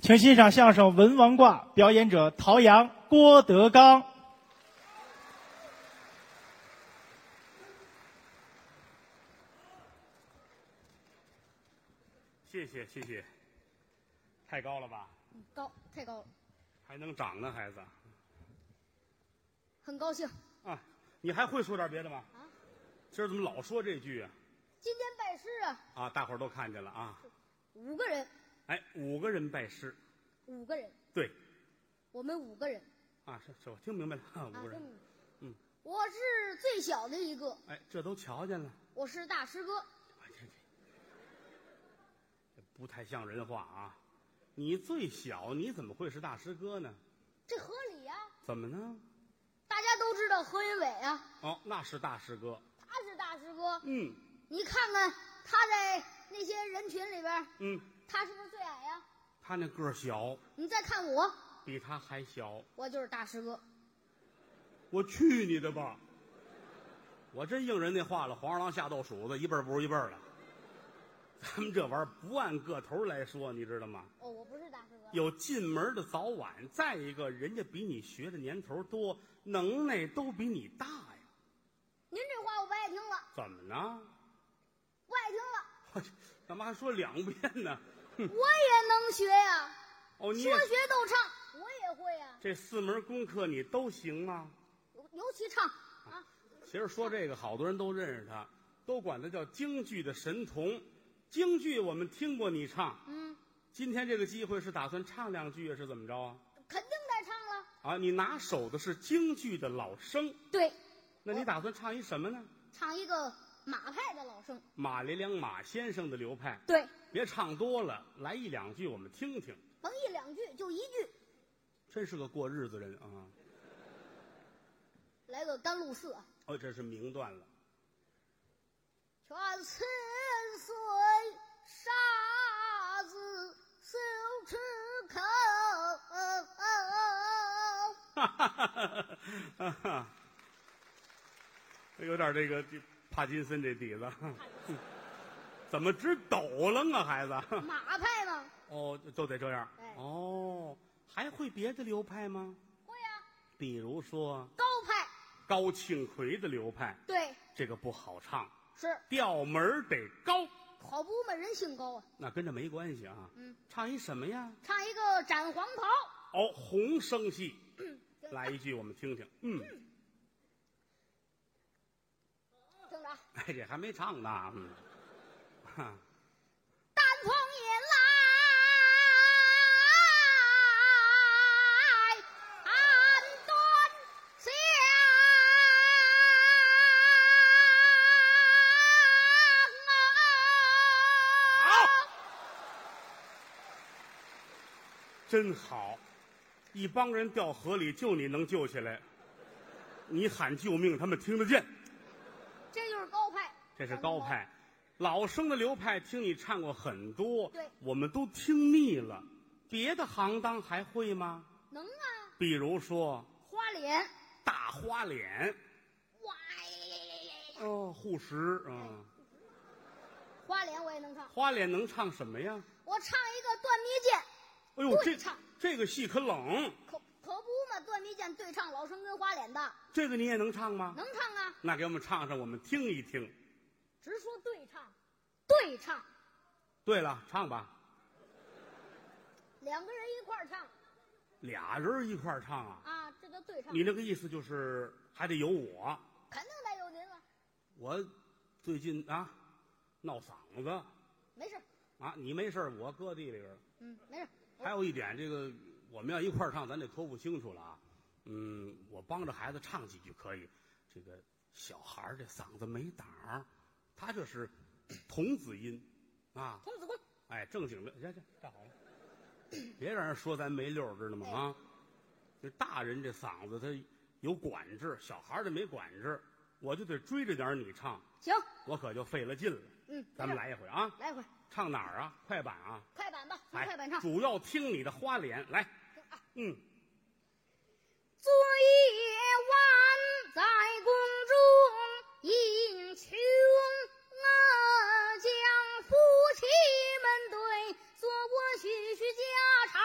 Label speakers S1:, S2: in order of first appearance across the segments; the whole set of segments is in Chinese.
S1: 请欣赏相声《文王卦》，表演者陶阳、郭德纲。
S2: 谢谢谢谢，太高了吧？
S3: 高，太高了，
S2: 还能长呢，孩子
S3: 很高兴。
S2: 啊！你还会说点别的吗？
S3: 啊
S2: 今儿怎么老说这句啊？
S3: 今天拜师啊，
S2: 啊，大伙儿都看见了啊！
S3: 五个人，
S2: 哎，五个人拜师，
S3: 五个人，
S2: 对
S3: 我们五个人
S2: 啊，是是，我听明白了，啊
S3: 啊，
S2: 五个人。
S3: 跟
S2: 嗯，
S3: 我是最小的一个，
S2: 哎，这都瞧见了，
S3: 我是大师哥，
S2: 哎这这不太像人话啊！你最小，你怎么会是大师哥呢？
S3: 这合理呀、
S2: 怎么呢？
S3: 大家都知道何云伟啊，
S2: 哦，那是大师哥。
S3: 他是大师哥，
S2: 嗯
S3: 你看看他在那些人群里边，
S2: 嗯，
S3: 他是不是最矮呀、
S2: 他那个儿小，
S3: 你再看我，
S2: 比他还小。
S3: 我就是大师哥。
S2: 我去你的吧！我真应人那话了，黄鼠狼下豆鼠子，一辈儿不如一辈儿了。咱们这玩意儿不按个头来说，你知道吗？
S3: 哦，我不是大师哥，
S2: 有进门的早晚，再一个人家比你学的年头多，能耐都比你大呀。
S3: 您这话我不爱听了，
S2: 怎么呢？
S3: 不爱听了，
S2: 我去， 干嘛还说两遍呢？
S3: 我也能学呀、
S2: 哦，你也
S3: 说学逗唱我也会呀、
S2: 这四门功课你都行吗？
S3: 尤尤其唱啊，
S2: 其实说这个，好多人都认识他，都管他叫京剧的神童。京剧我们听过你唱，
S3: 嗯，
S2: 今天这个机会是打算唱两句啊，是怎么着啊？
S3: 肯定得唱了。
S2: 啊，你拿手的是京剧的老生，
S3: 对，
S2: 那你打算唱一什么呢？
S3: 唱一个马派的老生。
S2: 马连良马先生的流派，
S3: 对，
S2: 别唱多了，来一两句我们听听。
S3: 甭一两句，就一句，
S2: 真是个过日子人啊！
S3: 来个甘露寺啊。
S2: 哦，这是名段了。
S3: 全千岁杀子羞耻口，
S2: 哈哈哈哈哈！有点这个这帕金森这底子， 怎么直抖楞啊，孩子？
S3: 马派嘛，
S2: 哦，就得这样
S3: 哎。
S2: 哦，还会别的流派吗？
S3: 会呀、
S2: 比如说
S3: 高派
S2: 高庆奎的流派，
S3: 对
S2: 这个不好唱，
S3: 是
S2: 调门儿得高，
S3: 好不嘛，人性高啊。
S2: 那跟这没关系啊。
S3: 嗯，
S2: 唱一什么呀？
S3: 唱一个斩黄袍。嗯
S2: 哦，红生戏，来一句我们听听。嗯，
S3: 听着啊，
S2: 哎，这还没唱呢。嗯，哈。
S3: 丹凤引来，暗端详。
S2: 真好，一帮人掉河里，就你能救起来。你喊救命，他们听得见。
S3: 这就是高派，
S2: 这是高派，老生的流派，听你唱过很多，
S3: 对
S2: 我们都听腻了。别的行当还会吗？
S3: 能啊，
S2: 比如说
S3: 花脸，
S2: 大花脸，
S3: 哇呀呀呀呀呀呀！
S2: 哦，护食，嗯，
S3: 花脸我也能唱，
S2: 花脸能唱什么呀？
S3: 我唱一个断迷剑，
S2: 哎呦，这
S3: 对唱
S2: 这个戏可冷，
S3: 可可不嘛，断迷剑对唱老生跟花脸的，
S2: 这个你也能唱吗？
S3: 能唱啊，
S2: 那给我们唱唱，我们听一听。
S3: 直说对唱，对唱，
S2: 对了，唱吧，
S3: 两个人一块儿唱
S2: 俩人一块儿唱啊。
S3: 啊，这叫对唱，
S2: 你那个意思就是还得有我，
S3: 肯定得有您了，
S2: 我最近啊闹嗓子
S3: 没事，
S2: 啊，你没事儿我搁地里边儿。
S3: 嗯，没事，
S2: 还有一点，这个我们要一块儿唱，咱得托付清楚了啊。嗯，我帮着孩子唱几句可以，这个小孩儿这嗓子没档儿，他这是童子音啊，
S3: 童子功，
S2: 哎，正经的，行行，站好了，别让人说咱没溜儿，知道吗？啊，这大人这嗓子他有管制，小孩儿这没管制，我就得追着点儿你唱，
S3: 行，
S2: 我可就费了劲了。
S3: 嗯，
S2: 咱们来一回啊，
S3: 来一回
S2: 唱哪儿啊？快板啊？
S3: 快板吧，从
S2: 来，
S3: 快板唱，
S2: 主要听你的花脸来。
S3: 啊
S2: 嗯，
S3: 昨夜晚在宫中饮穷，我将夫妻们对坐我叙叙家常。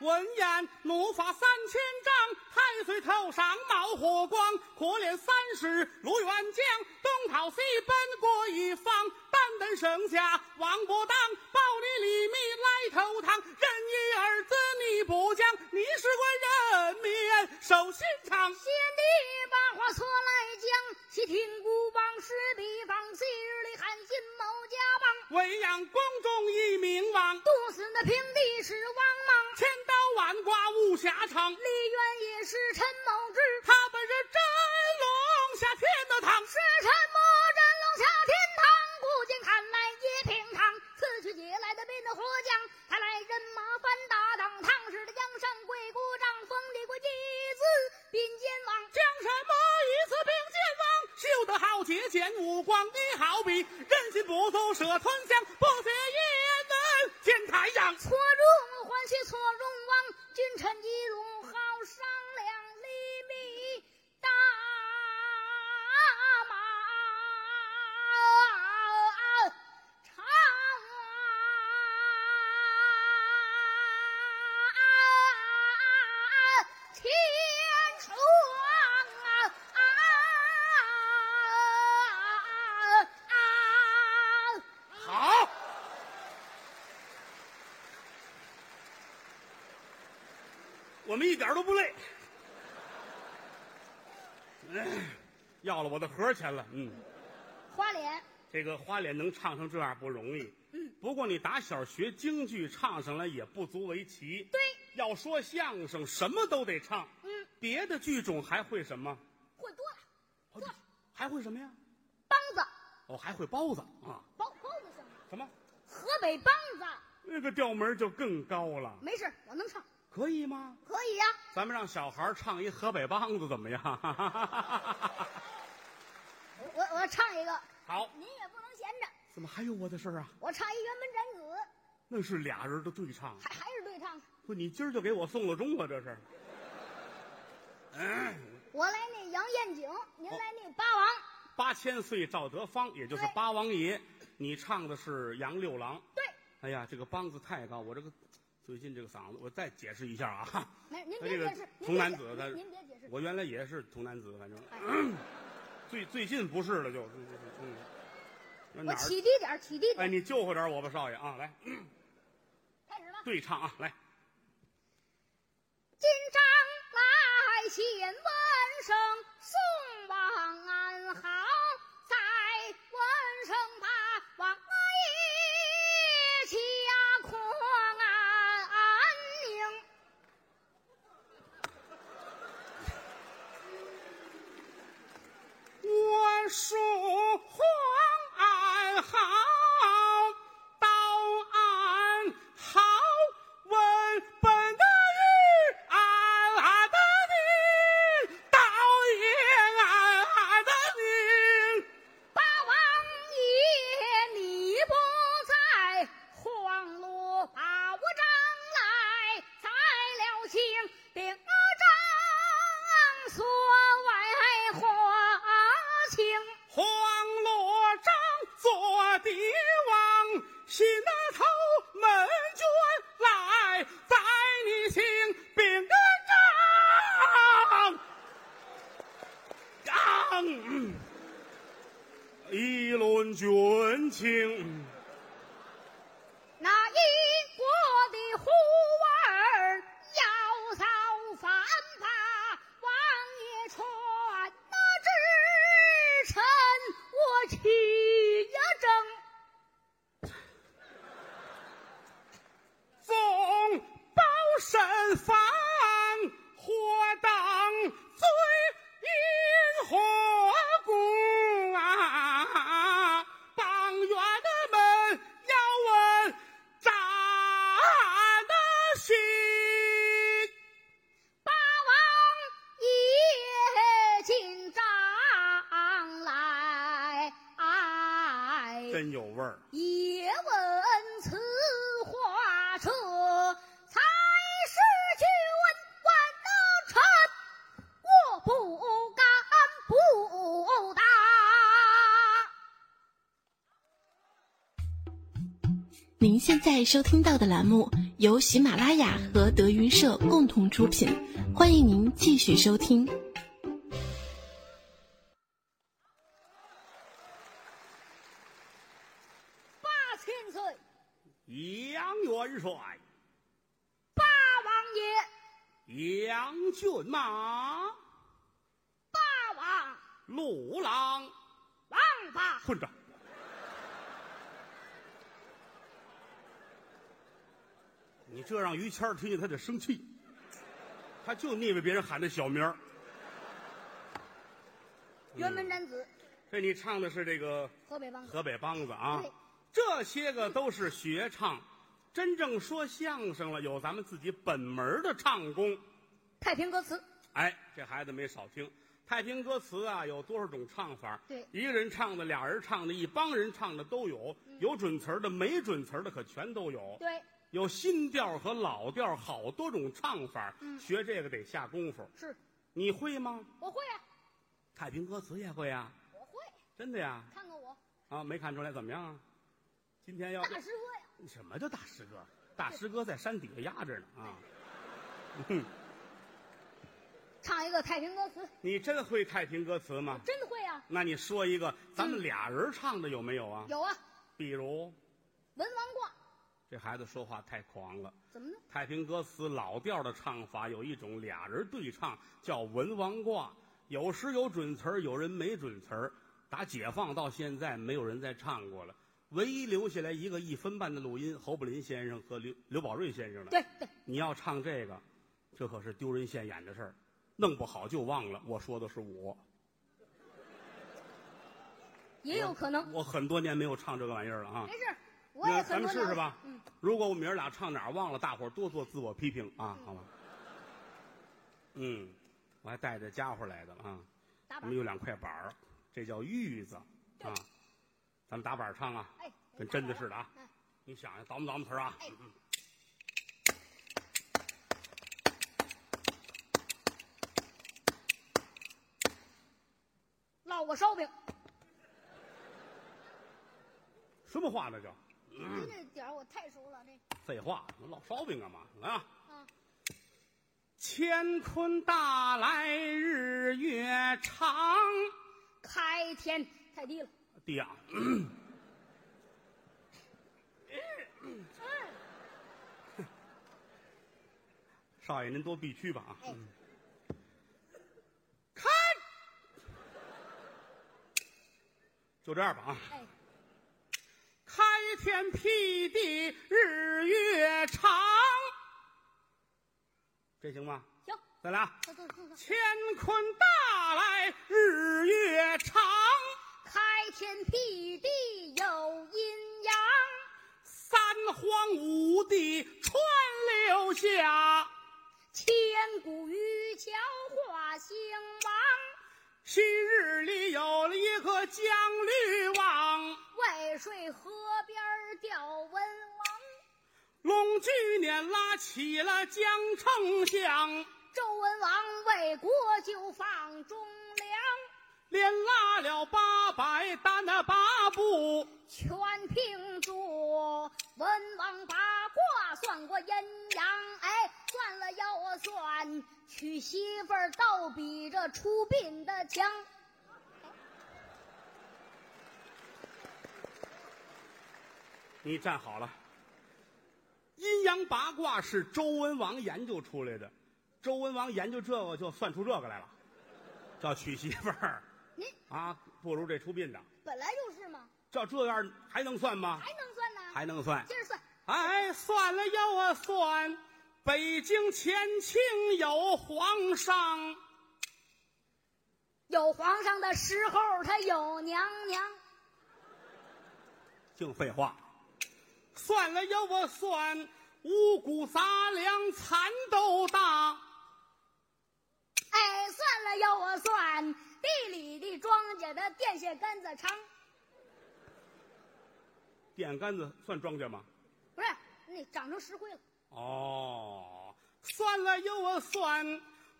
S2: 闻言怒发三千丈，太岁头上冒火光，火炼三十卢元将，东讨西奔过一方，单等剩下王伯当，抱你李密来投堂，仁义二字你不讲，你是官人民守心肠。
S3: 先帝把话说来讲，西挺孤邦是彼方，昔日里汉信某家邦，
S2: 为养光中一名王，
S3: 不死的平地是王莽，
S2: 千刀万剐无暇场。
S3: 李渊也是陈某志，
S2: 他本是真龙下天的堂，
S3: 是陈魔真龙下天堂，古今看来也平常。此去解来的兵的活将，他来人马翻打挡，唐氏的江山贵国丈，封李国祭子并肩王。
S2: 将什么一次并肩王，修得好节俭无光，你好比人心不足蛇吞象，不学也能见太阳。
S3: 错容还须错容王，君臣一路好商量，利弊大马长千床啊！
S2: 好，我们一点都不累。哎要了我的盒钱了，嗯，
S3: 花脸，
S2: 这个花脸能唱成这样不容易，嗯，不过你打小学京剧唱上来也不足为奇，
S3: 对，
S2: 要说相声什么都得唱，
S3: 嗯，
S2: 别的剧种还会什么？
S3: 会多了，
S2: 哦还会什么呀？
S3: 梆子，
S2: 哦，还会包子啊？
S3: 包包子什么？
S2: 什么？
S3: 河北梆子，
S2: 那个调门儿就更高了，
S3: 没事，我能唱，
S2: 可以吗？
S3: 可以呀、
S2: 咱们让小孩儿唱一河北梆子怎么样？
S3: 我我唱一个，
S2: 好，
S3: 您也不能闲着，
S2: 怎么还有我的事儿啊？
S3: 我唱一辕门斩子，
S2: 那是俩人的对唱，
S3: 还还是对唱。
S2: 不，你今儿就给我送了钟吧，这是。
S3: 我来那杨艳景，
S2: 哦
S3: 您来那八王，
S2: 八千岁赵德芳，也就是
S3: 对
S2: 八王爷，你唱的是杨六郎。
S3: 对，
S2: 哎呀，这个梆子太高，我这个最近这个嗓子，我再解释一下啊。
S3: 没您
S2: 他
S3: 别
S2: 这个
S3: 解释，
S2: 童
S3: 您别
S2: 男
S3: 解
S2: 子
S3: 释
S2: 他
S3: 您您别解释，
S2: 我原来也是童男子，反正
S3: 哎
S2: 最最近不是了就，就就嗯，那哪
S3: 我
S2: 儿？
S3: 起低点儿，起低点
S2: 哎，
S3: 儿，
S2: 你救活点我吧，少爷啊！来，
S3: 开始吧。
S2: 对唱啊，来，
S3: 今章来请闻声送王安好，再闻声把王爷家狂安宁。
S2: 我说黄安好，道安好，问本的玉安的你，道也安的你。
S3: 八王爷，你不在，黄罗把我张来宰了清，并张所为花情。
S2: 黄罗章做帝王，新那头门军来，在你请禀章。章，嗯一论军情，
S3: 那一国的胡儿要造反，把王爷传那之臣，我起呀争。
S2: 奉包身房，或当罪因何故啊？榜员的们要问咋的心？
S3: 八王爷进帐来，
S2: 真有味儿，
S3: 也闻此话者，才是去问万能臣，我不敢不答。
S4: 您现在收听到的栏目由喜马拉雅和德云社共同出品，欢迎您继续收听。
S3: 八千岁，
S2: 杨元帅，
S3: 八王爷，
S2: 杨骏马，
S3: 八王，
S2: 陆郎，
S3: 王八，
S2: 混账！你这让于谦儿听见，他得生气。他就腻歪别人喊他小名儿。
S3: 辕门斩子，
S2: 这你唱的是这个
S3: 河北梆子，
S2: 河北梆子啊
S3: 对，
S2: 这些个都是学唱，真正说相声了，有咱们自己本门的唱功。
S3: 太平歌词，
S2: 哎，这孩子没少听。太平歌词啊，有多少种唱法？
S3: 对
S2: 一个人唱的，俩人唱的，一帮人唱的都有。有准词儿的，没准词儿的，可全都有。
S3: 对，
S2: 有新调和老调，好多种唱法。
S3: 嗯
S2: 学这个得下功夫。
S3: 是，
S2: 你会吗？
S3: 我会啊，
S2: 太平歌词也会啊？
S3: 我会，
S2: 真的呀？
S3: 看看我，
S2: 啊，没看出来怎么样啊？今天要
S3: 大师哥呀，
S2: 什么叫大师哥？大师哥在山底下压着呢啊！
S3: 唱一个太平歌词，
S2: 你真会太平歌词吗？
S3: 真会啊，
S2: 那你说一个，咱们俩人唱的有没有啊？
S3: 嗯有啊，
S2: 比如
S3: 文王卦
S2: 这孩子说话太狂了，
S3: 怎么呢？
S2: 太平歌词老调的唱法有一种俩人对唱叫文王卦，有时有准词儿，有人没准词儿。打解放到现在，没有人再唱过了，唯一留下来一个一分半的录音，侯宝林先生和刘刘宝瑞先生的。
S3: 对对，
S2: 你要唱这个，这可是丢人现眼的事儿，弄不好就忘了。我说的是我，
S3: 也有可能，
S2: 我很多年没有唱这个玩意儿了啊
S3: 没。事，我也
S2: 那
S3: 很
S2: 咱们
S3: 多
S2: 试试
S3: 年
S2: 吧
S3: 了嗯，
S2: 如果我们爷儿俩唱哪儿忘了，大伙儿多做自我批评啊，好吧？嗯，我还带着家伙来的啊，
S3: 打
S2: 我
S3: 板
S2: 们，有两块板儿，这叫玉子啊。咱们打板儿唱啊，
S3: 哎，
S2: 跟真的似的啊
S3: 哎。
S2: 你想想，倒磨倒磨词儿啊。
S3: 哎烙过烧饼，
S2: 什么话那叫？
S3: 您这点儿我太熟了，这
S2: 废话，烙烧饼干嘛？来啊！
S3: 啊，
S2: 乾坤大来日月长，
S3: 开天太低了，
S2: 弟啊， 少爷您多避屈吧啊！
S3: 哎，
S2: 看，就这样吧啊！
S3: 哎，
S2: 开天辟地日月长，这行吗？
S3: 行，
S2: 再来啊，
S3: 走走走走。
S2: 乾坤大来日月长，
S3: 开天辟地有阴阳，
S2: 三皇五帝川流下，
S3: 千古渔樵话兴亡。
S2: 昔日里有了一个江绿王。
S3: 渭水河边钓文王，
S2: 龙驹碾拉起了江丞相，
S3: 周文王为国就放忠良，
S2: 连拉了八百单的八步，
S3: 全凭着文王八卦算过阴阳，哎，算了又算，娶媳妇儿倒比这出殡的强。
S2: 你站好了。阴阳八卦是周文王研究出来的，周文王研究这个就算出这个来了，叫娶媳妇儿
S3: 您
S2: 啊，不如这出殡的，
S3: 本来就是嘛，
S2: 照这样还能算吗？
S3: 还能算呢？
S2: 还能算。
S3: 接着算。
S2: 哎，算了又啊算，北京乾清有皇上。
S3: 有皇上的时候，他有娘娘；
S2: 净废话。算了呀，我算五谷杂粮蚕豆大，
S3: 哎，算了要我算，地里的庄稼的电线杆子长，
S2: 电杆子算庄稼吗？
S3: 不是那长成石灰了。
S2: 哦，算了呀，我算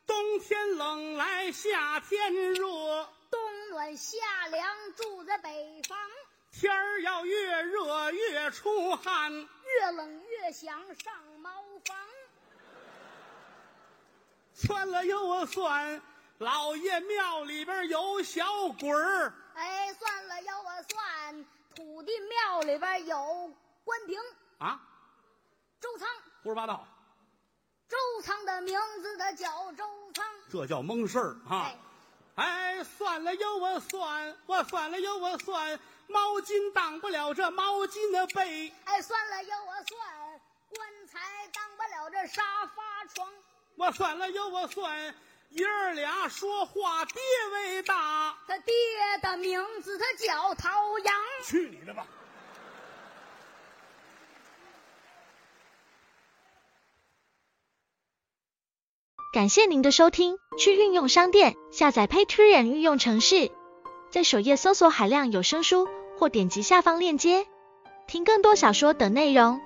S2: 冬天冷来夏天热，
S3: 冬暖夏凉，住在北方，
S2: 天儿要越热越出汗，
S3: 越冷越想上茅房，
S2: 算了又算，老爷庙里边有小鬼儿，
S3: 哎，算了要我算，土地庙里边有关平、
S2: 啊，
S3: 周仓，
S2: 胡说八道，
S3: 周仓的名字他叫周仓，
S2: 这叫蒙事儿啊
S3: 哎！
S2: 哎，算了又我算，我算了又我算，毛巾当不了这毛巾的被，
S3: 哎，算了要我算，棺材当不了这沙发床，
S2: 我算了又我算，爷儿俩说话地位大，
S3: 他爹的名字他叫陶阳，
S2: 去你的吧！
S5: 感谢您的收听，去运用商店下载 Patreon 运用城市，在首页搜索海量有声书，或点击下方链接听更多小说等内容。